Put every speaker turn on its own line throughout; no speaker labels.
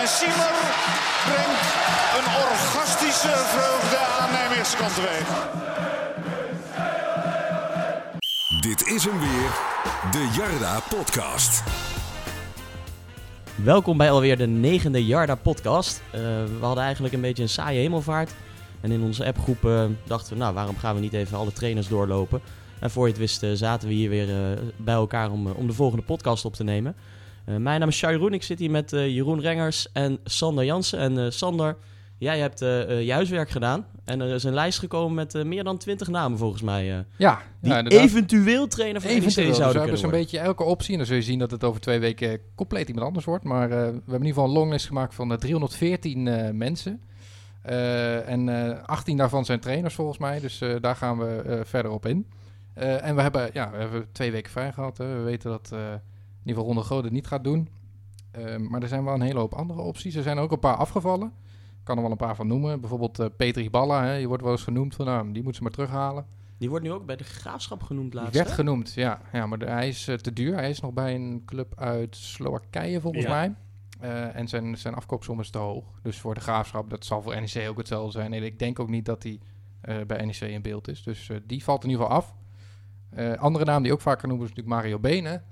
En Siemer brengt een orgastische vreugde aan de Nijmeegse kant teweeg.
Dit is hem weer, de Jarda Podcast.
Welkom bij alweer de negende Jarda podcast. Eh, we hadden eigenlijk een beetje een saaie hemelvaart. En in onze appgroep eh, dachten we, nou waarom gaan we niet even alle trainers doorlopen? En voor je het wist eh, zaten we hier weer eh, bij elkaar om, eh, om de volgende podcast op te nemen. Eh, mijn naam is Jeroen, ik zit hier met eh, Jeroen Rengers en Sander Jansen. En eh, Sander, jij hebt eh, eh, je huiswerk gedaan. En er is een lijst gekomen met eh, meer dan twintig namen volgens mij. eh,
Ja,
die
ja, inderdaad.
eventueel trainer van NEC zouden
Eventueel. Dus we
kunnen
hebben zo'n
worden.
beetje elke optie. En dan zul je zien dat het over twee weken compleet iemand anders wordt. Maar eh, we hebben in ieder geval een longlist gemaakt van eh, 314 eh, mensen. Eh, en eh, 18 daarvan zijn trainers volgens mij. Dus eh, daar gaan we eh, verder op in. Eh, en we hebben, ja, we hebben twee weken vrij gehad. Hè. We weten dat eh, in ieder geval Ronde Goden niet gaat doen. Eh, maar er zijn wel een hele hoop andere opties. Er zijn ook een paar afgevallen. Ik kan er wel een paar van noemen. Bijvoorbeeld eh Petri Balla. Hè. Je wordt wel eens genoemd van nou, die moeten ze maar terughalen.
Die wordt nu ook bij de graafschap genoemd
Die
laatst.
werd
hè?
genoemd, ja. ja maar de- hij is eh, te duur. Hij is nog bij een club uit Slowakije, volgens
Ja.
mij. Eh, en zijn, zijn afkoopsom is te hoog. Dus voor de graafschap, dat zal voor NEC ook hetzelfde zijn. En ik denk ook niet dat hij eh, bij NEC in beeld is. Dus eh, die valt in ieder geval af. Eh, andere naam die ook vaak genoemd is natuurlijk Mario Benen.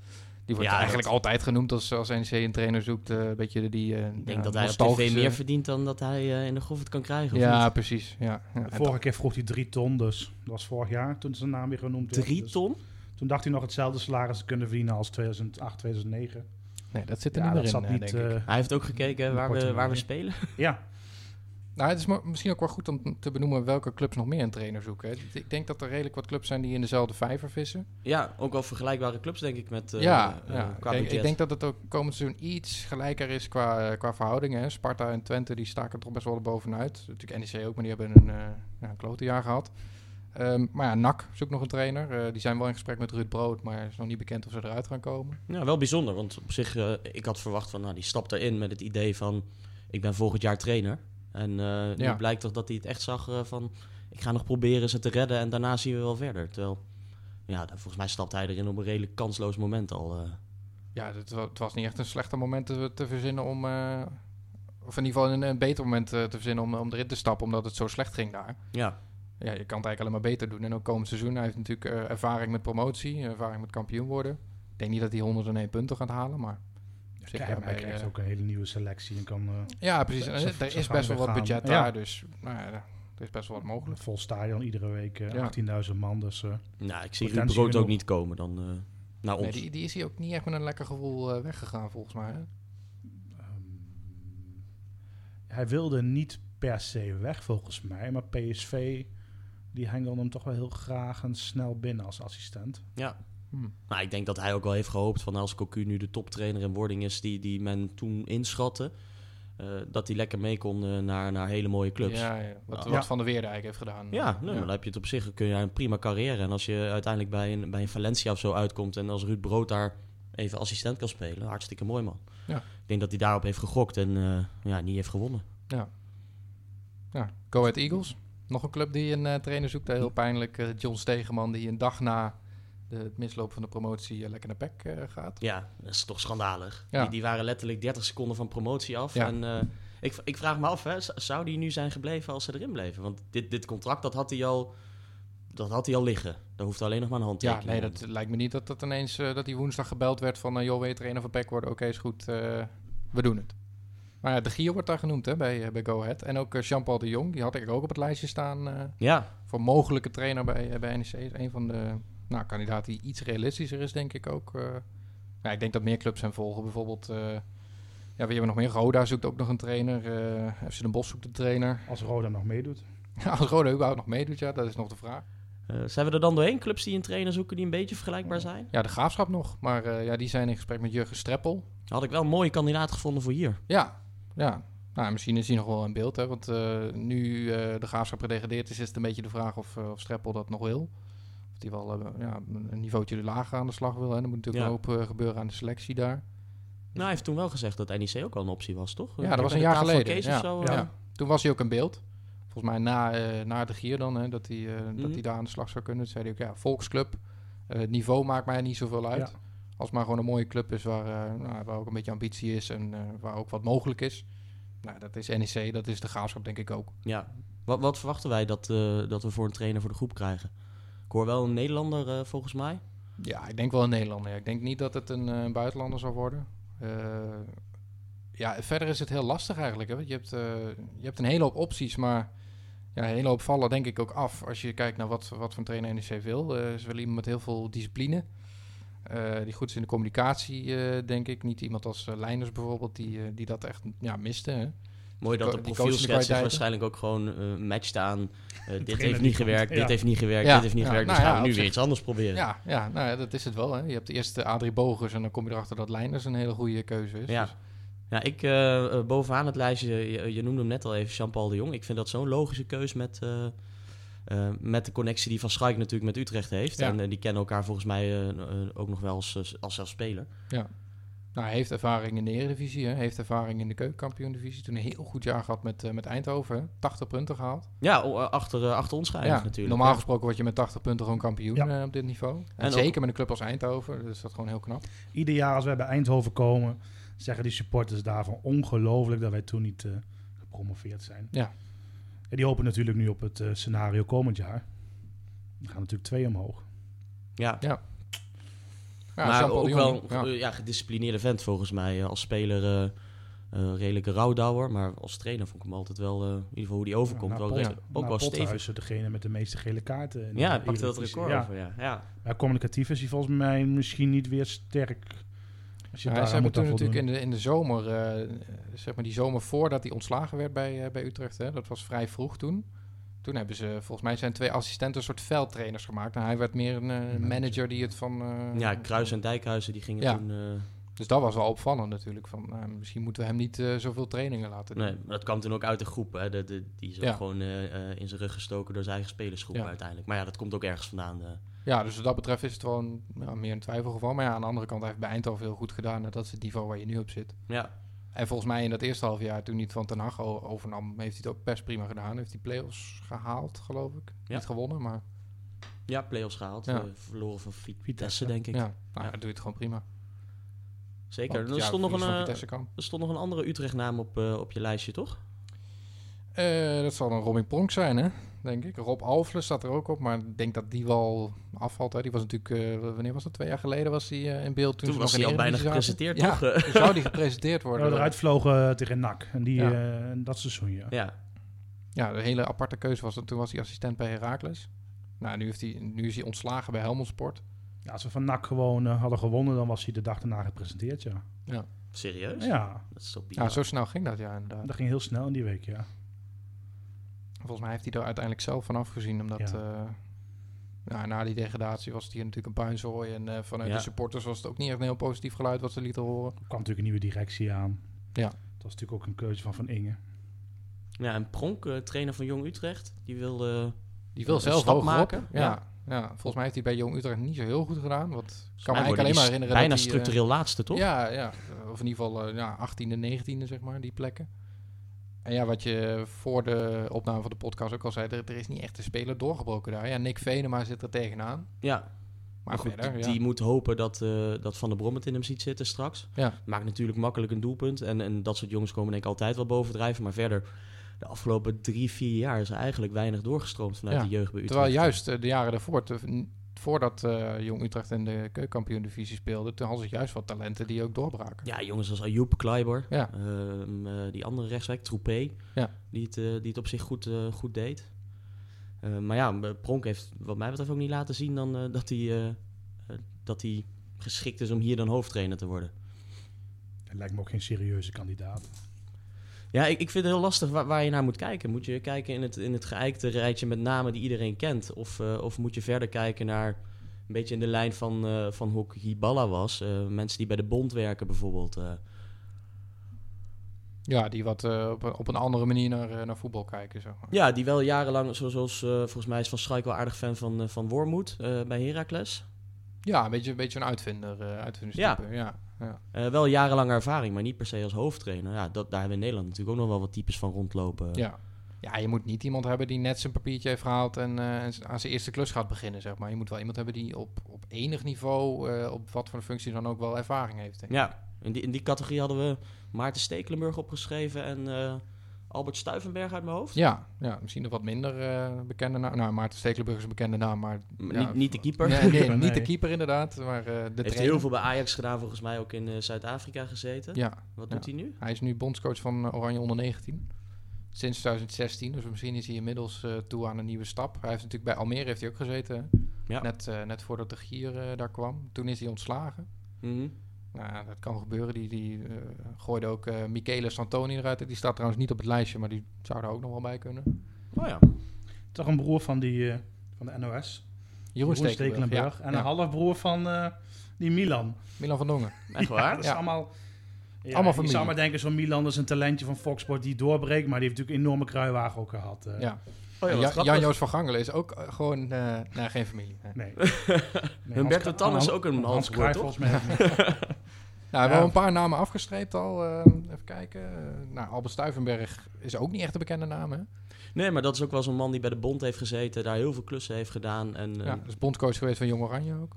Die wordt
Ja,
eigenlijk
dat-
altijd genoemd als, als NEC een trainer zoekt. eh, een beetje die eh,
Ik denk
ja,
dat hij op tv
nostalgische-
meer verdient dan dat hij eh, in de grof het kan krijgen. of
Ja,
niet?
precies. Ja, ja.
De
En
vorige keer vroeg hij drie ton, dus dat was vorig jaar toen zijn naam weer genoemd werd.
Drie
Dus
ton?
toen dacht hij nog hetzelfde salaris te kunnen verdienen als 2008, 2009.
dat- nee, dat zit er
Ja,
niet meer
dat
in,
zat
eh,
niet.
denk ik.
eh,
Hij heeft ook gekeken hè,
De
waar we,
portemonnee.
waar we spelen.
ja,
Nou, het is mo- misschien ook wel goed om te benoemen welke clubs nog meer een trainer zoeken. hè. Ik denk dat er redelijk wat clubs zijn die in dezelfde vijver vissen.
Ja, ook wel vergelijkbare clubs, denk ik, met eh
ja,
eh,
ja.
qua
Ik- ik,
budget.
denk dat het ook komend seizoen iets gelijker is qua, eh, qua verhoudingen. Hè. Sparta en Twente die staken er toch best wel bovenuit. Natuurlijk NEC ook, maar die hebben een, eh ja, een klote jaar gehad. Ehm, maar ja, NAC zoekt nog een trainer. Eh, die zijn wel in gesprek met Ruud Brood, maar het is nog niet bekend of ze eruit gaan komen.
Ja, wel bijzonder, want op zich, eh, ik had verwacht van, nou, die stapt erin met het idee van, ik ben volgend jaar trainer. En eh, nu
Ja.
blijkt toch dat hij het echt zag eh, van, ik ga nog proberen ze te redden en daarna zien we wel verder. Terwijl, ja, dan- volgens mij stapt hij erin op een redelijk kansloos moment al. eh.
Ja, het, wa- het was niet echt een slechter moment te, te verzinnen om. eh, of in ieder geval een, een beter moment eh, te verzinnen om, om erin te stappen, omdat het zo slecht ging daar.
Ja,
Ja, je kan het eigenlijk alleen maar beter doen. En ook komend seizoen, hij heeft natuurlijk eh, ervaring met promotie, ervaring met kampioen worden. Ik denk niet dat hij 101 punten gaat halen, maar...
dus
Zeker
hij
bij,
krijgt
eh,
ook een hele nieuwe selectie en kan eh,
Ja, precies. En,
Ze-
eh, er
ze
is
gaan
best wel wat
weggaan.
budget
Ja.
daar, dus nou ja, er is best wel wat mogelijk.
vol stadion iedere week
Ja.
eh 18.000 man. Dus eh,
nou, ik zie Ruud
Potentie
Brood ook
genoeg.
niet komen dan eh, naar ons.
Nee, die, die is hier ook niet echt met een lekker gevoel eh, weggegaan, volgens mij. hè?
ehm, hij wilde niet per se weg volgens mij, maar PSV die hengelde hem toch wel heel graag en snel binnen als assistent.
Hm.
Maar Nou, ik denk dat hij ook wel heeft gehoopt van als Cocu nu de toptrainer in wording is die, die men toen inschatte, eh, dat hij lekker mee kon eh, naar, naar hele mooie clubs. Ja,
Ja, ja. Wat,
Ja.
wat Van der Weerdijk heeft gedaan.
nee, maar dan heb je het op zich, kun je een prima carrière. En als je uiteindelijk bij een, bij een Valencia of zo uitkomt en als Ruud Brood daar even assistent kan spelen, hartstikke mooi man.
Ja.
Ik denk dat hij daarop heeft gegokt en eh, ja, niet heeft gewonnen.
Ja, Go Ahead Eagles. Nog een club die een eh, trainer zoekt. Eh, Heel pijnlijk. eh, John Stegeman die een dag na de, het misloop van de promotie eh, lekker naar PEC eh, gaat.
Ja, dat is toch schandalig.
Ja.
Die, die waren letterlijk 30 seconden van promotie af.
Ja.
En eh, ik, ik vraag me af, hè, z- zou die nu zijn gebleven als ze erin bleven? Want dit, dit contract, dat had hij al, dat had hij al liggen. Daar hoeft alleen nog maar een
Ja,
handtekening
nee,
aan.
dat lijkt me niet dat, dat ineens eh, dat hij woensdag gebeld werd van... eh, joh, wil je trainer van PEC worden? Oké, is goed. eh, we doen het. Maar ja, de Gio wordt daar genoemd hè, bij, eh, bij Go Ahead. En ook eh, Jean-Paul de Jong, die had ik ook op het lijstje staan... eh,
Ja,
voor mogelijke trainer bij, eh, bij NEC. Is een van de nou, kandidaten die iets realistischer is, denk ik ook. Eh, ja, ik denk dat meer clubs hem volgen. Bijvoorbeeld, eh, ja, wie hebben we nog meer? Roda zoekt ook nog een trainer. eh FC Den Bosch zoekt een trainer.
Als Roda nog meedoet.
Ja, Als Roda überhaupt nog meedoet, ja, dat is nog de vraag.
Eh, zijn we er dan doorheen? Clubs die een trainer zoeken die een beetje vergelijkbaar zijn?
Ja, de Graafschap nog. Maar eh, ja, die zijn in gesprek met Jurgen Streppel.
Had ik wel een mooie kandidaat gevonden voor hier.
Ja, ja. Nou, misschien is hij nog wel in beeld, hè. Want eh, nu eh, de Graafschap gedegradeerd is, is het een beetje de vraag of, eh, of Streppel dat nog wil. Of hij wel eh, ja, een niveautje lager aan de slag wil, hè. Er moet natuurlijk
Ja.
ook een hoop eh, gebeuren aan de selectie daar.
Nou, hij heeft toen wel gezegd dat NEC ook al een optie was, toch?
Ja,
Bij
dat was
de
een jaar
tafel van
geleden.
Kees
ja.
of zo,
ja.
eh.
Toen was hij ook in beeld. Volgens mij na, eh, na de Gier dan, hè, dat hij eh, dat
Mhm.
hij daar aan de slag zou kunnen. Toen zei hij ook, ja, volksclub. Eh, het niveau maakt mij niet zoveel uit.
Ja.
Als het maar gewoon een mooie club is waar, eh, nou, waar ook een beetje ambitie is en eh, waar ook wat mogelijk is. Nou, dat is NEC, dat is de graafschap denk ik ook.
Ja. Wat, wat verwachten wij dat, eh, dat we voor een trainer voor de groep krijgen? Ik hoor wel een Nederlander eh, volgens mij.
Ja, ik denk wel een Nederlander. ja. Ik denk niet dat het een, eh, buitenlander zal worden. Eh, ja, verder is het heel lastig eigenlijk. Hè? Want Je, hebt, eh, je hebt een hele hoop opties, maar ja, een hele hoop vallen denk ik ook af. Als je kijkt naar wat, wat voor een trainer NEC wil. Eh ze willen iemand met heel veel discipline. eh, die goed is in de communicatie, eh, denk ik. Niet iemand als eh, Leijners bijvoorbeeld, die, eh, die dat echt ja, miste. Hè?
Mooi dat
ko-
de
die
profielschets
coachingkwaliteiten.
zich waarschijnlijk ook gewoon eh, matcht aan. eh, dit
trainer
heeft
die
niet gewerkt,
komt,
dit
ja.
heeft niet gewerkt,
Ja,
dit heeft niet
ja,
gewerkt. Dus
nou ja,
gaan we nu
op
weer
zich.
iets anders proberen. Ja,
Ja, ja, nou ja, dat is het wel. Hè? Je hebt eerst eh, Adrie Bogers en dan kom je erachter dat Leijners een hele goede keuze is.
Ja.
Dus,
ik, eh, eh, bovenaan het lijstje, je, je noemde hem net al even, Jean-Paul de Jong. Ik vind dat zo'n logische keus met, eh, eh, met de connectie die Van Schaik natuurlijk met Utrecht heeft.
Ja.
En eh, die kennen elkaar volgens mij eh, eh, ook nog wel als, als- als zelfs speler.
nou, hij heeft ervaring in de Eredivisie, hè? heeft ervaring in de Keukenkampioen-divisie. Toen een heel goed jaar gehad met, eh, met Eindhoven, hè? 80 punten gehaald.
Ja, o- eh, achter, eh, achter ons geëindigd natuurlijk.
normaal
Ja.
gesproken word je met 80 punten gewoon kampioen
Ja.
eh, op dit niveau. En,
En ook-
zeker met een club als Eindhoven, dus dat is gewoon heel knap.
Ieder jaar als wij bij Eindhoven komen, zeggen die supporters daarvan ongelooflijk dat wij toen niet eh, gepromoveerd zijn.
Ja.
En die hopen natuurlijk nu op het eh, scenario komend jaar. Er gaan natuurlijk twee omhoog.
Ja.
Ja,
maar
Jean-Paul
ook
de
wel eh,
Jong,
ja.
ja.
gedisciplineerde vent volgens mij. Eh, Als speler eh, eh, redelijke rouwdouwer. Maar als trainer vond ik hem altijd wel, eh, in ieder geval hoe die overkomt,
Ja, na
wel
Pot-
redelijk- ook
na
wel stevig.
Pothuizen, degene met de meeste gele kaarten. in
Ja,
de
hij pakte dat
Eredivisie.
record
Ja.
over. Ja. Ja.
Maar communicatief is hij volgens mij misschien niet weer sterk. Als je
Ja,
daar
ze hebben
aan moet
toen
aan
natuurlijk in
voldoen.
de, in de zomer, eh, zeg maar die zomer voordat hij ontslagen werd bij, eh, bij Utrecht, hè, dat was vrij vroeg toen. Toen hebben ze, volgens mij zijn twee assistenten een soort veldtrainers gemaakt. En hij werd meer een eh, manager die het van... eh,
ja, Kruis en Dijkhuizen die gingen
Ja.
toen... eh,
Dus dat was wel opvallend natuurlijk. Van, nou, misschien moeten we hem niet eh, zoveel trainingen laten doen.
nee, maar dat kwam toen ook uit de groep. Hè. De, de- die is ook
Ja.
gewoon eh, eh, in zijn rug gestoken door zijn eigen spelersgroep
Ja.
uiteindelijk. Maar ja, dat komt ook ergens vandaan. eh.
Ja, dus wat dat betreft is het wel een, ja, meer een twijfelgeval. Maar ja, aan de andere kant hij heeft bij Eindhoven heel goed gedaan. En dat is het niveau waar je nu op zit.
Ja.
En volgens mij in dat eerste half jaar, toen hij het van Ten Hag o- overnam, heeft hij het ook best prima gedaan. Heeft hij play-offs gehaald, geloof ik.
Ja.
Niet gewonnen, maar
ja, play-offs gehaald.
Ja.
eh, verloren van Vitesse,
Vitesse.
denk ik.
ja, nou, ja, doe je het gewoon prima.
Zeker.
Want,
er,
ja,
stond nog
verlies
een,
van
eh,
Vitesse kan.
er stond nog een andere Utrecht-naam op, eh, op je lijstje, toch?
Eh, dat zal dan Robin Pronk zijn, hè? Denk ik. Rob Alfle staat er ook op, maar ik denk dat die wel afvalt. Hè? Die was natuurlijk, eh, wanneer was dat? Twee jaar geleden was hij eh, in beeld. Toen,
Toen
ze
was
nog in
hij al
de
bijna
Eredivisie
gepresenteerd,
zaten.
toch? Eh,
Ja, toen zou die gepresenteerd worden.
Ja, eruit vlogen eh, tegen NAC. En die,
Ja.
eh, dat seizoen, ja.
ja.
Ja, een hele aparte keuze was dat. Toen was hij assistent bij Heracles. Nou, nu, heeft hij, nu is hij ontslagen bij Helmond Sport.
Ja, Als we van NAC gewoon eh, hadden gewonnen, dan was hij de dag daarna gepresenteerd, ja.
Serieus?
Ja,
Dat is toch
Ja,
bizar.
zo snel ging dat ja inderdaad.
dat ging heel snel in die week, ja.
Volgens mij heeft hij er uiteindelijk zelf van afgezien. Omdat
Ja.
eh, nou, na die degradatie was het hier natuurlijk een puinzooi. En eh, vanuit
Ja.
de supporters was het ook niet echt een heel positief geluid wat ze lieten horen.
Er kwam natuurlijk een nieuwe directie aan.
Ja.
Dat was natuurlijk ook een keuze van Van Inge.
Ja, en Pronk, eh, trainer van Jong Utrecht, die wilde... eh,
Die
wil
wil
Een zelf
zelf
stap
hoog
hogerop. maken,
maken. Ja.
ja.
Ja. volgens mij heeft hij bij Jong Utrecht niet zo heel goed gedaan. Wat ik kan me
Hij worden
eigenlijk alleen maar
die
herinneren
Bijna
dat hij, eh,
structureel laatste, toch?
Ja, ja, of in ieder geval eh, ja, 18e, 19e, zeg maar, die plekken. En ja, wat je voor de opname van de podcast ook al zei, er, er is niet echt een speler doorgebroken daar. Ja, Nick Venema zit er tegenaan. Maar,
Ja, maar goed,
verder,
die,
ja.
die moet hopen dat, eh, dat Van der Brom het in hem ziet zitten straks.
Ja.
Maakt natuurlijk makkelijk een doelpunt. En, en dat soort jongens komen denk ik altijd wel bovendrijven. Maar verder, de afgelopen drie, vier jaar is er eigenlijk weinig doorgestroomd vanuit
Ja,
de jeugd bij Utrecht.
Terwijl juist eh, de jaren daarvoor, te- n- voordat eh, Jong Utrecht in de keukenkampioen-divisie speelde, toen hadden ze juist wat talenten die ook doorbraken.
Ja, jongens als Ayoub Kleiber,
Ja.
ehm, eh, die andere rechtswijk, Troepé,
Ja.
die, het, eh, die het op zich goed, eh, goed deed. Eh, maar ja, m- Pronk heeft wat mij betreft ook niet laten zien dan, eh, dat, hij, eh, eh, dat hij geschikt is om hier dan hoofdtrainer te worden.
Dat lijkt me ook geen serieuze kandidaat.
Ja, ik, ik vind het heel lastig waar, waar je naar moet kijken. Moet je kijken in het, in het geëikte rijtje met namen die iedereen kent? Of, eh, of moet je verder kijken naar een beetje in de lijn van, eh van hoe Hiballa was? eh, mensen die bij de bond werken bijvoorbeeld. eh.
Ja, die wat eh, op, een- op een andere manier naar, eh, naar voetbal kijken, zeg maar.
Ja, die wel jarenlang, zo- zoals eh, volgens mij is Van Schaik wel aardig fan van, eh, van Wormoed eh, bij Heracles.
Ja, een beetje, een beetje een uitvinder, eh uitvinderstype, ja. ja.
Eh, wel jarenlange ervaring, maar niet per se als hoofdtrainer. Ja, dat, daar hebben we in Nederland natuurlijk ook nog wel wat types van rondlopen.
Ja. Ja, je moet niet iemand hebben die net zijn papiertje heeft gehaald en eh, en z- aan zijn eerste klus gaat beginnen, zeg maar. Je moet wel iemand hebben die op, op enig niveau, eh, op wat voor functie dan ook wel ervaring heeft. Denk ik.
Ja. In die, in die categorie hadden we Maarten Stekelenburg opgeschreven en eh, Albert Stuivenberg uit mijn hoofd.
Ja, ja misschien nog wat minder eh, bekende naam. Nou, Maarten Stekelenburg is een bekende naam, maar...
M-
ja,
niet, niet de keeper.
Nee,
Heeft
nee,
Nee.
niet de keeper inderdaad, maar eh, de trainer.
heel veel bij Ajax gedaan, volgens mij ook in eh, Zuid-Afrika gezeten.
Ja,
Wat doet hij nu?
hij is nu bondscoach van eh, Oranje onder 19. Sinds 2016, dus misschien is hij inmiddels eh, toe aan een nieuwe stap. Hij heeft natuurlijk bij Almere heeft hij ook gezeten, hè?
Ja.
net, eh, net voordat de Gier eh, daar kwam. Toen is hij ontslagen.
Mhm.
Nou, dat kan gebeuren. Die, die eh, gooide ook eh Michele Santoni eruit. Die staat trouwens niet op het lijstje, maar die zou daar ook nog wel bij kunnen.
Oh ja.
Toch een broer van, die, eh, van de NOS.
Jeroen, Stekelenburg. ja.
En
Ja.
een halfbroer van eh, die Milan.
Milan van Dongen.
Echt
Ja,
waar?
dat is
Ja.
allemaal... Ja,
Allemaal
je
familie.
zou maar denken, zo'n Milan is een talentje van Fox Sport die doorbreekt. Maar die heeft natuurlijk enorme kruiwagen ook gehad. eh.
Ja.
Oh ja,
En
wat
Ja-
grappig.
Jan-Joos van Gangelen is ook eh, gewoon... eh nee, geen familie. nee.
Nee.
Humberto
Hans-
Tan is
Hans-
ook een
Hans
halfbroer,
Cruijff
toch?
volgens mij. ook niet.
Nou, we hebben
Ja.
al een paar namen afgestreept al. eh, even kijken. Eh, nou, Albert Stuyvenberg is ook niet echt een bekende naam, hè?
Nee, maar dat is ook wel zo'n man die bij de Bond heeft gezeten, daar heel veel klussen heeft gedaan. En, eh,
Ja,
ja.
is bondcoach geweest van Jong Oranje ook.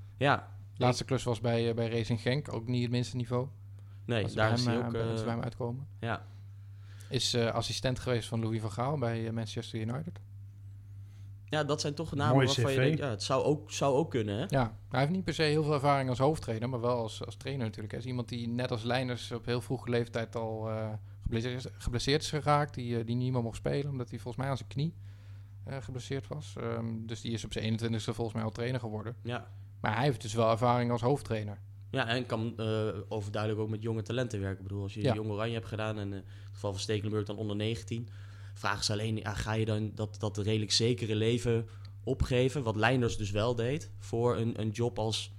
Laatste klus was bij, eh, bij Racing Genk. Ook niet het minste niveau.
nee,
Als ze
daar
bij
is
hem,
hij
eh,
ook...
bij- als ze
eh,
bij hem uitkomen.
ja.
Is eh, assistent geweest van Louis van Gaal bij eh, Manchester United.
ja, dat zijn toch namen
Mooi
waarvan je
CV.
denkt, ja, het zou ook, zou ook kunnen, hè?
Ja, hij heeft niet per se heel veel ervaring als hoofdtrainer, maar wel als, als trainer natuurlijk. Hij is iemand die net als Leiners op heel vroege leeftijd al eh, geblesseerd, is, geblesseerd is geraakt. Die, eh, die niet meer mocht spelen, omdat hij volgens mij aan zijn knie eh, geblesseerd was. Ehm, dus die is op zijn 21ste volgens mij al trainer geworden.
Ja.
Maar hij heeft dus wel ervaring als hoofdtrainer.
Ja, en kan eh, overduidelijk ook met jonge talenten werken. Ik bedoel, als je
Ja.
Jong Oranje hebt gedaan en eh, in het geval van Stekelenburg dan onder 19. Vraag is alleen, ja, ga je dan dat, dat redelijk zekere leven opgeven? Wat Leinders dus wel deed voor een, een job als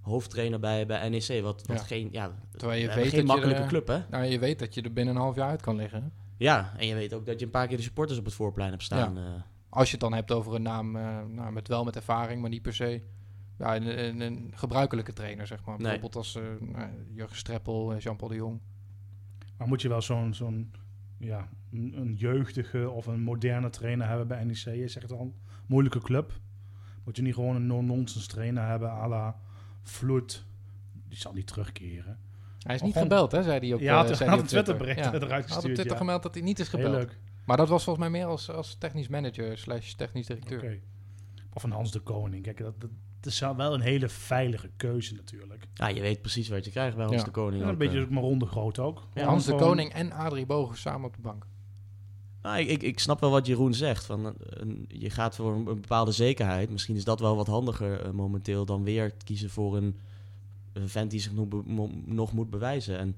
hoofdtrainer bij, bij NEC. Wat, wat
Ja.
geen, ja,
Terwijl je
we
weet
hebben geen
dat
makkelijke
je er,
club, hè?
Nou, je weet dat je er binnen een half jaar uit kan liggen. hè?
Ja, en je weet ook dat je een paar keer de supporters op het voorplein hebt staan. eh.
Als je het dan hebt over een naam, eh, nou, met wel met ervaring, maar niet per se ja, een, een, een gebruikelijke trainer, zeg maar.
Nee.
Bijvoorbeeld als eh nou, Jurgen Streppel, eh, Jean-Paul de Jong.
maar moet je wel zo'n... zo'n ja, een een jeugdige of een moderne trainer hebben bij NEC. Je zegt dan, moeilijke club. Moet je niet gewoon een non-nonsense trainer hebben à la Vloed. Die zal niet terugkeren.
Hij is niet
Gewoon-
gebeld, hè, zei hij op,
Ja, had,
eh, zei
had
hij
een
op Twitter.
Twitterbericht
Ja.
eruit
Hij had op
gestuurd.
Twitter
ja.
gemeld dat hij niet is
Heel
gebeld.
leuk.
Maar dat was volgens mij meer als, als technisch manager slash technisch directeur.
Oké. Of een Hans de Koning. Kijk, dat, dat, dat is wel een hele veilige keuze natuurlijk.
ja, je weet precies wat je krijgt bij Hans
Ja.
de Koning.
En een
ook,
beetje
eh.
ook maar ronde groot ook.
Ja,
Hans de
Gewoon-
Koning en Adrie Bogen samen op de bank.
Nou, ik, ik, ik snap wel wat Jeroen zegt. Van, eh, een- je gaat voor een, een bepaalde zekerheid. Misschien is dat wel wat handiger eh, momenteel dan weer kiezen voor een, een vent die zich nog, be- mo- nog moet bewijzen. En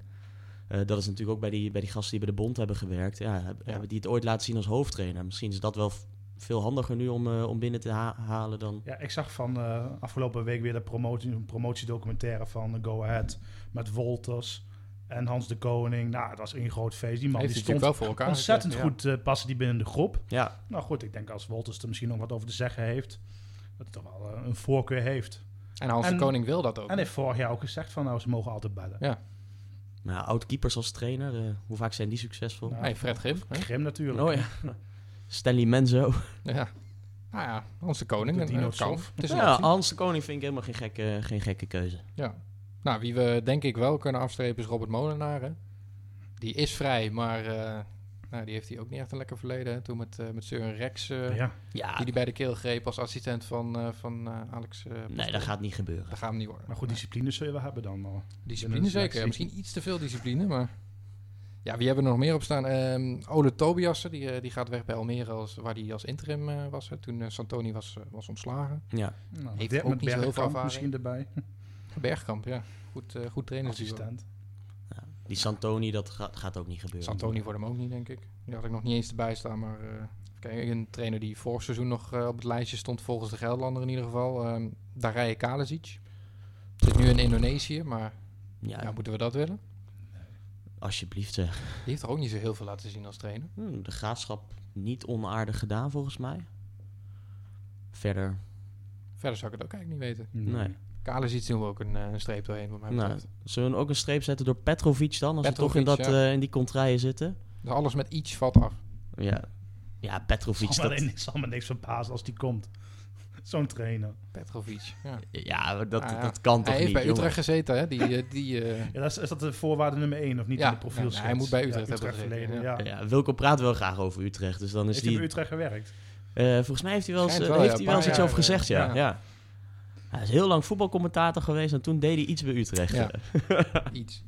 eh, dat is natuurlijk ook bij die, bij die gasten die bij de Bond hebben gewerkt. Ja, heb- Hebben die het ooit laten zien als hoofdtrainer? Misschien is dat wel f- veel handiger nu om, eh, om binnen te ha- halen dan.
Ja, ik zag van eh, afgelopen week weer de promotie, een promotiedocumentaire van Go Ahead met Wolters en Hans de Koning. Nou, dat was één groot feest. Die man
Heeft
die
hij natuurlijk
stond
wel voor elkaar
ontzettend
gekregen, ja.
goed eh, passen die binnen de groep.
Ja,
Nou goed, ik denk als Wolters er misschien nog wat over te zeggen heeft, dat hij toch wel eh, een voorkeur heeft.
En Hans de
En-
Koning wil dat ook.
En heeft vorig jaar ook gezegd van nou, ze mogen altijd bellen.
nou, oud-keepers als trainer, eh, hoe vaak zijn die succesvol?
Nou,
Nee, Fred Gif. hè?
Grim natuurlijk.
Oh ja. Stanley Menzo.
Ja. Nou ja, Hans de Koning.
De
en, eh,
Dino
het kan.
Sof.
Het is een
Ja,
optie.
Hans de Koning vind ik helemaal geen gekke, geen gekke keuze.
Ja. Nou, wie we denk ik wel kunnen afstrepen is Robert Molenaar. Hè? Die is vrij, maar eh, nou, die heeft hij ook niet echt een lekker verleden. Hè? Toen met, eh met Søren Rex, eh,
Ja.
Ja,
die die bij de keel greep als assistent van, eh, van eh, Alex. eh,
nee,
Pastoor.
dat gaat niet gebeuren.
Dat gaan we niet worden.
Maar goed, discipline zul je wel hebben dan. hoor.
Discipline
binnen de
zeker.
selectie.
Ja, misschien iets te veel discipline, maar... Ja, wie hebben er nog meer op staan? Ehm, Ole Tobiassen, die, eh, die gaat weg bij Almere, als, waar hij als interim eh, was. Hè? Toen eh, Santoni was, eh, was ontslagen.
Ja.
Nou,
Heeft
met
ook niet zo heel veel
Bergkamp
ervaring.
misschien erbij.
Bergkamp, ja. Goed, eh goed trainer.
Assistent.
Ja, die Santoni, dat gaat, gaat ook niet gebeuren.
Santoni voor hem ook niet, denk ik. Die had ik nog niet eens erbij staan. Maar eh, even kijken, een trainer die vorig seizoen nog eh, op het lijstje stond, volgens de Gelderlander in ieder geval. ehm Darije Kalezic. Zit nu in Indonesië, maar
Ja,
ja, moeten we dat willen?
alsjeblieft zeg.
Die heeft er ook niet zo heel veel laten zien als trainer.
Hm, de graafschap niet onaardig gedaan volgens mij. Verder,
Verder zou ik het ook eigenlijk niet weten.
nee.
Kalezic doen we ook een, eh, een streep doorheen, wat mij
Nou,
betreft.
Zullen we ook een streep zetten door Petrovic dan? Als we
Petrovic,
toch in, dat, eh, in die contraien zitten.
Dus alles met iets valt af.
Ja, ja Petrovic,
Zal me
dat,
alleen- zal me niks verbazen als die komt. Zo'n trainer.
Petrovic. Ja.
Ja, dat,
Ah, ja.
dat kan toch
Hij heeft
niet,
bij
jongen?
Utrecht gezeten, hè? Die, eh, die, eh,
Ja, dat is, is dat de voorwaarde nummer 1 of niet
Ja,
in de profiel?
ja, hij moet bij Utrecht
ja,
hebben gezeten,
verleden, ja.
Ja, Wilco praat wel graag over Utrecht, dus dan is
Heeft hij
die...
bij Utrecht gewerkt?
eh, volgens mij heeft hij wel, eens,
Schijnt
eh,
wel,
heeft
ja,
hij wel eens
een
iets
paar
over
jaar, eh,
gezegd, ja.
ja.
ja. Hij is heel lang voetbalcommentator geweest en toen deed hij iets bij Utrecht.
Ja.
eh,
iets.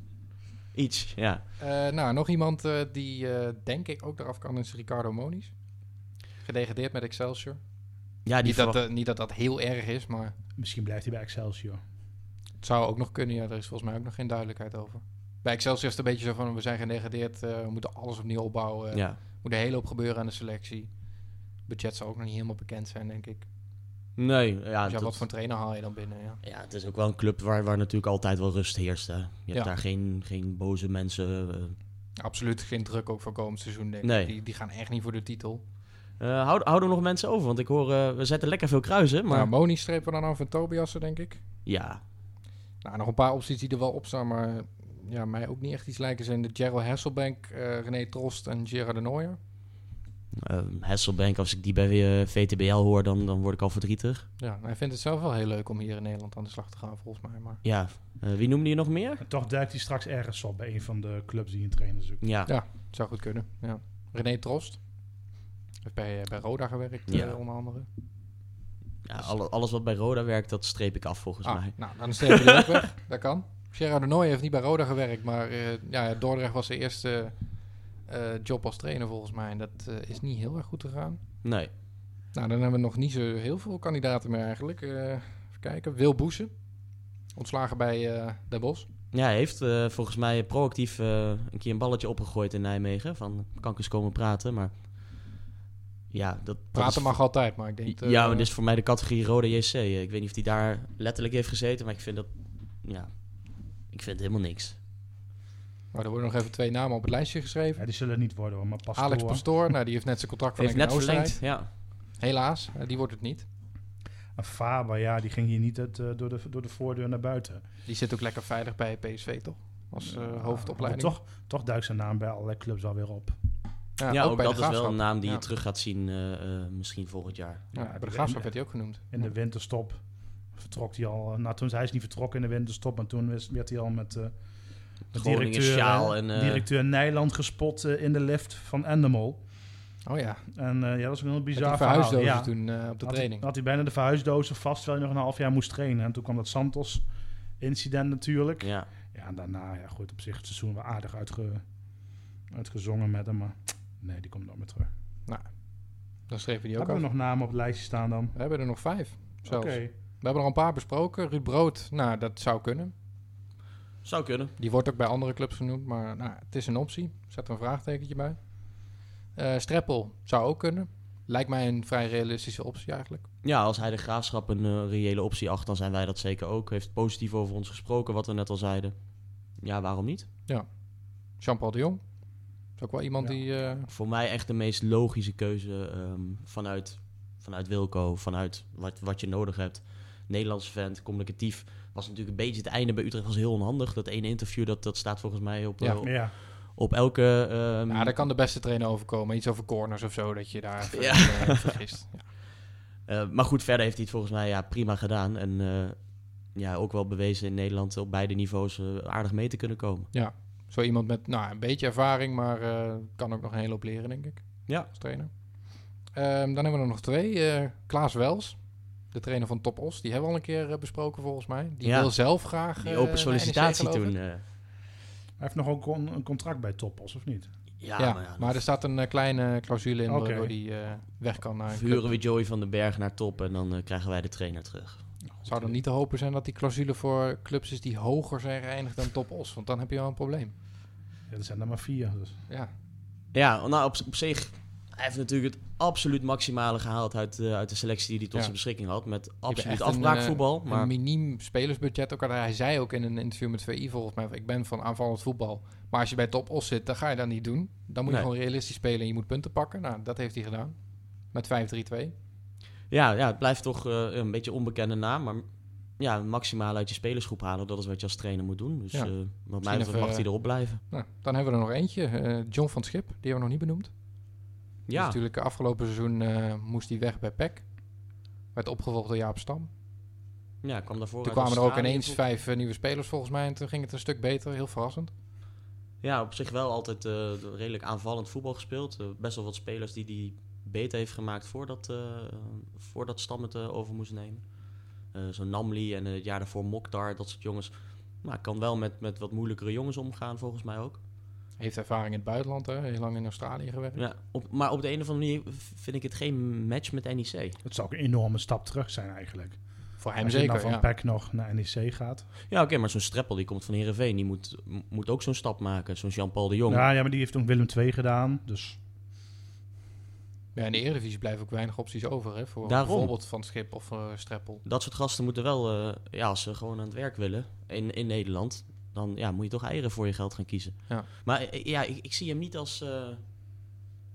Iets, ja.
Eh, nou, nog iemand eh, die eh, denk ik ook eraf kan is Ricardo Moniz. Gedegradeerd met Excelsior.
Ja, die
niet, dat,
verwacht-
eh, niet dat dat heel erg is, maar
Misschien blijft hij bij Excelsior.
het zou ook nog kunnen. Ja, er is volgens mij ook nog geen duidelijkheid over. Bij Excelsior is het een beetje zo van, we zijn gedegradeerd, eh, we moeten alles opnieuw opbouwen. eh.
ja.
Er moet een hele hoop gebeuren aan de selectie. Budget zal ook nog niet helemaal bekend zijn, denk ik.
Nee, ja,
dus ja,
dat-
wat voor een trainer haal je dan binnen? Ja.
ja, het is ook wel een club waar, waar natuurlijk altijd wel rust heerst. Hè. Je hebt
Ja.
daar geen, geen boze mensen. eh.
Absoluut geen druk ook voor komend seizoen, denk ik.
Nee.
Die, die gaan echt niet voor de titel.
Eh, houden, houden er nog mensen over? Want ik hoor, eh, we zetten lekker veel kruisen.
Maar
Maar ja,
Moni strepen we dan af en Tobiassen, denk ik. Nou, nog een paar opties die er wel op staan, maar ja, mij ook niet echt iets lijken zijn de Gerald Hasselbank, eh, René Trost en Gerard de Nooijer.
eh, Hasselbank, als ik die bij eh, VTBL hoor, dan, dan word ik al verdrietig.
Ja, hij vindt het zelf wel heel leuk om hier in Nederland aan de slag te gaan, volgens mij. Maar
Ja, eh, wie noemde je nog meer?
En toch duikt hij straks ergens op bij een van de clubs die een trainer zoekt.
Ja,
Ja. het zou goed kunnen. Ja. René Trost heeft bij, eh, bij Roda gewerkt,
Ja.
eh, onder andere.
ja, alle- alles wat bij Roda werkt, dat streep ik af volgens
Ah,
mij.
nou, dan strepen we die ook weg. Dat kan. Gerard de Nooijer heeft niet bij Roda gewerkt, maar eh, ja, Dordrecht was zijn eerste eh, job als trainer, volgens mij. En dat eh, is niet heel erg goed gegaan.
Nee.
Nou, dan hebben we nog niet zo heel veel kandidaten meer eigenlijk. Eh, even kijken. Wil Boesen. Ontslagen bij eh Den Bosch.
Ja, hij heeft eh, volgens mij proactief eh, een keer een balletje opgegooid in Nijmegen. Van, kan ik eens komen praten? Maar ja, dat, dat
Praten
is-
mag altijd, maar ik denk... eh,
ja, maar dus- dit is voor mij de categorie rode JC. Ik weet niet of hij daar letterlijk heeft gezeten, maar ik vind dat... Ja, ik vind helemaal niks.
nou, er worden nog even twee namen op het lijstje geschreven.
Ja, die zullen het niet worden hoor, maar pas
Alex Pastoor, nou, die heeft net zijn contract
Heeft
verlengd
net
in Oostenrijk.
verlengd, ja.
Helaas, eh, die wordt het niet.
En Faber, ja, die ging hier niet het, eh, door, de, door de voordeur naar buiten.
Die zit ook lekker veilig bij PSV, toch? Als eh,
Ja,
hoofdopleiding.
maar toch, toch duikt zijn naam bij allerlei clubs alweer op.
Ja,
Ja, ook,
bij
dat
de
is wel
Graafschap.
een naam die
Ja.
je terug gaat zien eh, eh, misschien volgend jaar.
Ja, bij de
die-
Graafschap
en,
werd hij ook genoemd.
in de winterstop vertrok hij al. eh, Nou, toen hij is niet vertrokken in de winterstop, maar toen is- werd hij al met eh, de
Groningen
directeur,
sjaal
eh,
en, eh,
directeur Nijland gespot eh, in de lift van Endemol.
Oh ja,
En eh, ja, dat is een heel
met die
bizar verhaal.
verhuisdozen
Ja.
toen eh, op de
had
training.
Hij, had hij bijna de verhuisdozen vast, terwijl hij nog een half jaar moest trainen. En toen kwam dat Santos-incident natuurlijk. Ja.
Ja,
en daarna, ja goed, op zich het seizoen wel aardig uitge, uitgezongen met hem. Maar nee, die komt nooit meer terug.
Dan schreven die ook
Hebben we
af.
nog namen op het lijstje staan dan?
We hebben er nog vijf,
Oké.
zelfs. We hebben er al een paar besproken. Ruud Brood, nou, dat zou kunnen.
zou kunnen.
Die wordt ook bij andere clubs genoemd, maar nou, het is een optie. Zet er een vraagtekentje bij. Eh, Streppel zou ook kunnen. Lijkt mij een vrij realistische optie eigenlijk.
Ja, als hij de graafschap een eh, reële optie acht, dan zijn wij dat zeker ook. Heeft positief over ons gesproken, wat we net al zeiden. Ja, waarom niet?
Jean-Paul de Jong. Is ook wel iemand
Ja.
die... eh,
Voor mij echt de meest logische keuze ehm, vanuit, vanuit Wilco, vanuit wat, wat je nodig hebt. Nederlandse vent, communicatief. Was natuurlijk een beetje het einde bij Utrecht, was heel onhandig. Dat ene interview, dat, dat staat volgens mij op,
Ja.
eh, op,
Ja,
op elke... ehm,
nou, daar kan de beste trainer overkomen. Iets over corners of zo, dat je daar even,
Ja.
eh, vergist. Ja.
Eh, maar goed, verder heeft hij het volgens mij ja, prima gedaan. En eh, ja, ook wel bewezen in Nederland op beide niveaus eh, aardig mee te kunnen komen.
Zo iemand met nou, een beetje ervaring, maar eh, kan ook nog een hele hoop leren, denk ik.
Ja.
Als trainer. Ehm, dan hebben we er nog twee. Eh, Klaas Wels, de trainer van Top Os. Die hebben we al een keer eh, besproken, volgens mij. Die
Ja.
wil zelf graag...
Die
eh,
open
naar
sollicitatie
NEC, geloof
toen. eh,
ik.
hij heeft nog ook een, een contract bij Topos, of niet?
ja,
Ja,
maar ja,
maar er
dan
staat een eh, kleine clausule in
Oké.
waardoor die eh, weg kan naar een club.
vuren we Joey van den Berg naar top en dan eh, krijgen wij de trainer terug.
Zou dan niet te hopen zijn dat die clausule voor clubs is die hoger zijn geëindigd dan Top Os? Want dan heb je wel een probleem.
Ja, er zijn er maar vier. Dus.
Ja,
Ja, nou op, op zich, hij heeft natuurlijk het absoluut maximale gehaald uit, eh, uit de selectie die hij tot
Ja.
zijn beschikking had. Met
echt
absoluut
een, eh,
afbraakvoetbal. maar
een miniem spelersbudget. Ook al hij zei ook in een interview met VI volgens mij, ik ben van aanvallend voetbal. Maar als je bij Top Os zit, dan ga je dat niet doen. Dan moet je
Nee.
gewoon realistisch spelen en je moet punten pakken. Nou, dat heeft hij gedaan. Met 5-3-2.
ja, ja, het blijft toch eh, een beetje onbekende naam. Maar ja, maximaal uit je spelersgroep halen, dat is wat je als trainer moet doen. Dus
Ja.
eh, wat mij betreft
even,
mag hij erop blijven.
Nou, dan hebben we er nog eentje. eh, John van Schip, die hebben we nog niet benoemd. Dus
Ja,
natuurlijk, eh, afgelopen seizoen eh, moest hij weg bij PEC. E Werd opgevolgd door Jaap
Oh,
Stam.
Ja, kwam daarvoor
Toen
uit
kwamen er ook
Australië
ineens
vol-
vijf eh, nieuwe spelers volgens mij. En toen ging het een stuk beter. Heel verrassend.
Ja, op zich wel altijd eh, redelijk aanvallend voetbal gespeeld. Eh, best wel wat spelers die die beter heeft gemaakt voordat, eh voordat Stam het eh, over moest nemen. Eh Zo'n Namli en eh, het jaar daarvoor Mokhtar, dat soort jongens. Maar kan wel met, met wat moeilijkere jongens omgaan, volgens mij ook.
Heeft ervaring in het buitenland. Hè? Heel lang in Australië gewerkt.
Ja, op, maar op de een of andere manier v- vind ik het geen match met E NEC.
Het zou ook een enorme stap terug zijn eigenlijk.
Voor hem
Als je dan
nou
zeker.
van
Ja.
PEC nog naar NEC gaat.
Ja, oké, maar zo'n Streppel die komt van Herenveen, die moet, m- moet ook zo'n stap maken. Zo'n Jean-Paul de Jong.
Ja, ja, maar die heeft toen Willem II gedaan. Dus
Ja, in de Eredivisie blijven ook weinig opties over. Hè? Voor
Daarom.
bijvoorbeeld Van Schip of eh, Streppel.
Dat soort gasten moeten wel, eh, ja, als ze gewoon aan het werk willen in, in Nederland, dan ja, moet je toch eieren voor je geld gaan kiezen.
Ja.
Maar eh, ja, ik, ik zie hem niet als. eh,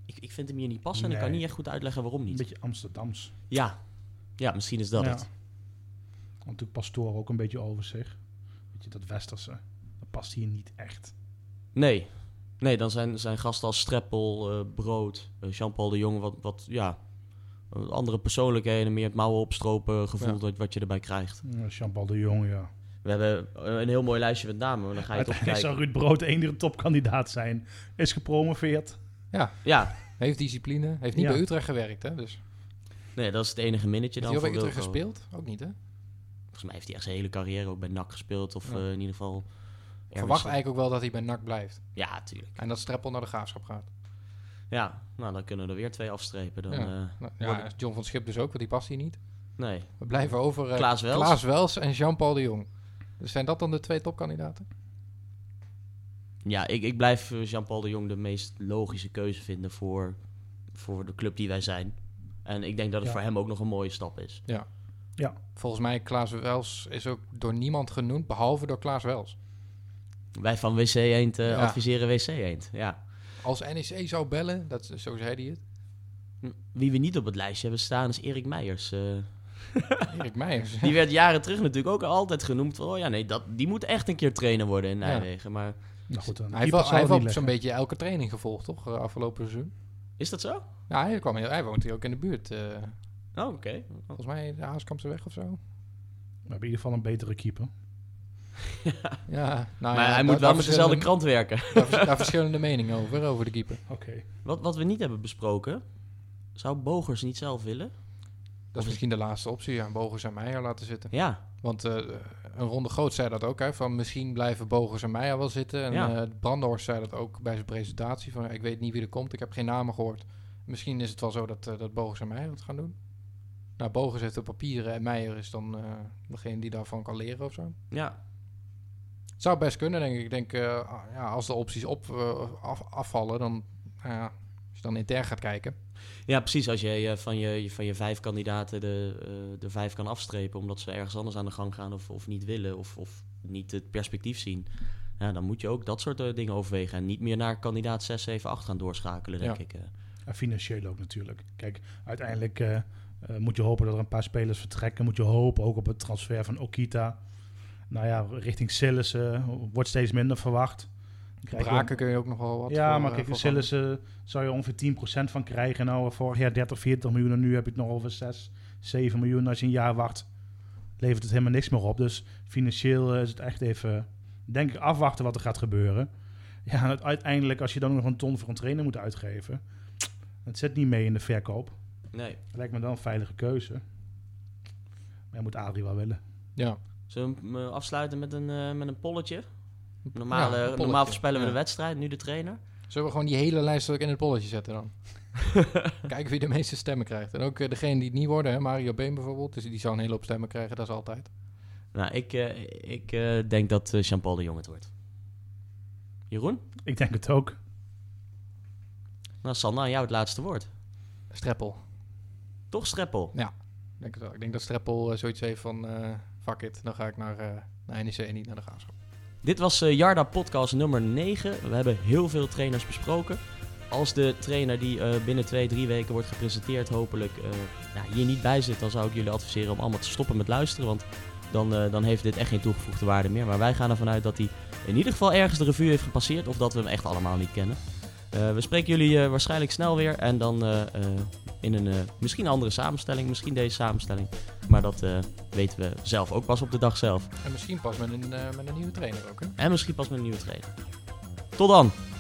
ik, ik vind hem hier niet passen en ik kan
Nee.
niet echt goed uitleggen waarom
een
niet.
beetje Amsterdams.
Ja, ja misschien is dat
ja.
het.
Want natuurlijk Pastoor ook een beetje over zich. Weet je, dat Westerse. Dat past hier niet echt.
Nee. Nee, dan zijn, zijn gasten als Streppel, eh, Brood, eh, Jean-Paul de Jong, wat, wat ja, eh, andere persoonlijkheden, meer het mouwen opstropen gevoel
Ja.
dat, wat je erbij krijgt.
Ja, Jean-Paul de Jong, ja.
We hebben eh, een heel mooi lijstje met namen, maar dan ga je toch
Uiteindelijk zou
kijken.
Ruud Brood de enige topkandidaat zijn. Is gepromoveerd.
Ja,
Heeft discipline. Heeft niet
Ja.
bij Utrecht gewerkt. Hè? Dus.
nee, dat is het enige minnetje
Heeft
dan
hij al
voor
bij Utrecht
Wilco.
gespeeld? Ook niet hè?
Volgens mij heeft hij echt zijn hele carrière ook bij NAC gespeeld. Of
Ja.
eh, in ieder geval...
Verwacht
RWC.
eigenlijk ook wel dat hij bij NAC blijft.
Ja, tuurlijk.
En dat Streppel naar de Graafschap gaat.
Ja, nou dan kunnen er weer twee afstrepen. Dan,
Ja.
eh,
Nou,
Wordt-
ja, John van Schip dus ook, want die past hier niet.
nee.
We blijven over eh,
Klaas Wels.
Klaas Wels en Jean-Paul de Jong. Dus zijn dat dan de twee topkandidaten?
Ja, ik, ik blijf eh, Jean-Paul de Jong de meest logische keuze vinden voor, voor de club die wij zijn. En ik denk dat het
Ja.
voor hem ook nog een mooie stap is.
Volgens mij Klaas Wels is ook door niemand genoemd, behalve door Klaas Wels.
Wij van WC Eend eh,
Ja.
adviseren WC Eend. Ja.
Als NEC zou bellen, dat, is- zo zei hij het,
Wie we niet op het lijstje hebben staan is Erik Meijers. eh.
Erik Meijers.
die werd jaren terug natuurlijk ook altijd genoemd van... Oh ja, nee, dat, die moet echt een keer trainer worden in
Ja.
Nijmegen. Maar
Nou goed, dan
Hij heeft wel, hij
zou
heeft
het
wel
niet
zo'n
leggen.
beetje elke training gevolgd, toch? eh, Afgelopen seizoen.
is dat zo?
Ja, hij, kwam, heel- hij woont hier ook in de buurt. eh,
Oh, oké.
volgens mij de Haaskampse weg of zo.
We hebben in ieder geval een betere keeper.
Ja, nou ja,
maar hij
daar-
moet wel
daar
met dezelfde
verschillen-
krant werken.
Daar, vers- daar verschillende meningen over, over de keeper.
Oké.
Wat, wat we niet hebben besproken, zou Bogers niet zelf willen?
Dat is misschien de laatste optie, ja, Bogers en Meijer laten zitten.
Ja,
Want eh, een ronde groot zei dat ook, hè, van misschien blijven Bogers en Meijer wel zitten. En
Ja.
eh, Brandhorst zei dat ook bij zijn presentatie, van ik weet niet wie er komt, ik heb geen namen gehoord. Misschien is het wel zo dat, eh, dat Bogers en Meijer het gaan doen. Nou, Bogers heeft de papieren en Meijer is dan eh, degene die daarvan kan leren of zo.
ja.
Het zou best kunnen, denk ik. Ik denk, eh, ah, ja, als de opties op, eh, af- afvallen, dan nou ja, als je dan intern gaat kijken.
ja precies. Als je eh, van je, van je vijf kandidaten de, eh, de vijf kan afstrepen omdat ze ergens anders aan de gang gaan of, of niet willen of, of niet het perspectief zien. Ja, dan moet je ook dat soort eh, dingen overwegen. En niet meer naar kandidaat 6, 7, 8 gaan doorschakelen, denk
Ja.
ik. eh.
En financieel ook natuurlijk. Kijk, uiteindelijk eh, eh, moet je hopen dat er een paar spelers vertrekken. Moet je hopen ook op het transfer van Okita. Nou ja, richting Sillissen wordt steeds minder verwacht. Krijg je-
Braken kun je ook nog wel wat
ja,
voor,
maar
eh,
kijk,
voor
Sillissen zou je ongeveer 10% van krijgen. Nou, vorig jaar 30, 40 miljoen en nu heb je het nog over 6, 7 miljoen. Als je een jaar wacht, levert het helemaal niks meer op. Dus financieel eh, is het echt even, denk ik, afwachten wat er gaat gebeuren. Ja, en het- uiteindelijk, als je dan nog een ton voor een trainer moet uitgeven, het zit niet mee in de verkoop.
Nee.
Lijkt me dan een veilige keuze. Maar je moet Adrie wel willen.
Ja.
Zullen we hem eh, afsluiten met een, eh, met een polletje? Normaal,
Ja,
eh,
een polletje.
normaal voorspellen we
Ja.
de wedstrijd, nu de trainer.
Zullen we gewoon die hele lijst ook in het polletje zetten dan? Kijken wie de meeste stemmen krijgt. En ook eh, degene die het niet worden, hè? Mario Been bijvoorbeeld. Dus die zal een hele hoop stemmen krijgen, dat is altijd.
Nou, ik, eh, ik eh, denk dat eh, Jean-Paul de Jong het wordt. Jeroen?
Ik denk het ook.
Nou, Sander, aan jou het laatste woord.
Streppel.
Toch Streppel?
Ik Denk het wel. Ik denk dat Streppel eh, zoiets heeft van, eh fuck it, dan ga ik naar, eh naar NEC en niet naar de Graafschap.
Dit was eh, Jarda podcast nummer 9. We hebben heel veel trainers besproken. Als de trainer die eh, binnen twee, drie weken wordt gepresenteerd hopelijk eh, nou, hier niet bij zit, dan zou ik jullie adviseren om allemaal te stoppen met luisteren. Want dan, eh, dan heeft dit echt geen toegevoegde waarde meer. Maar wij gaan ervan uit dat hij in ieder geval ergens de revue heeft gepasseerd of dat we hem echt allemaal niet kennen. Eh, we spreken jullie eh, waarschijnlijk snel weer en dan eh, eh, in een eh, misschien andere samenstelling, misschien deze samenstelling. Maar dat eh, weten we zelf ook pas op de dag zelf.
En misschien pas met een, eh, met een nieuwe trainer ook. Hè?
En misschien pas met een nieuwe trainer. Tot dan!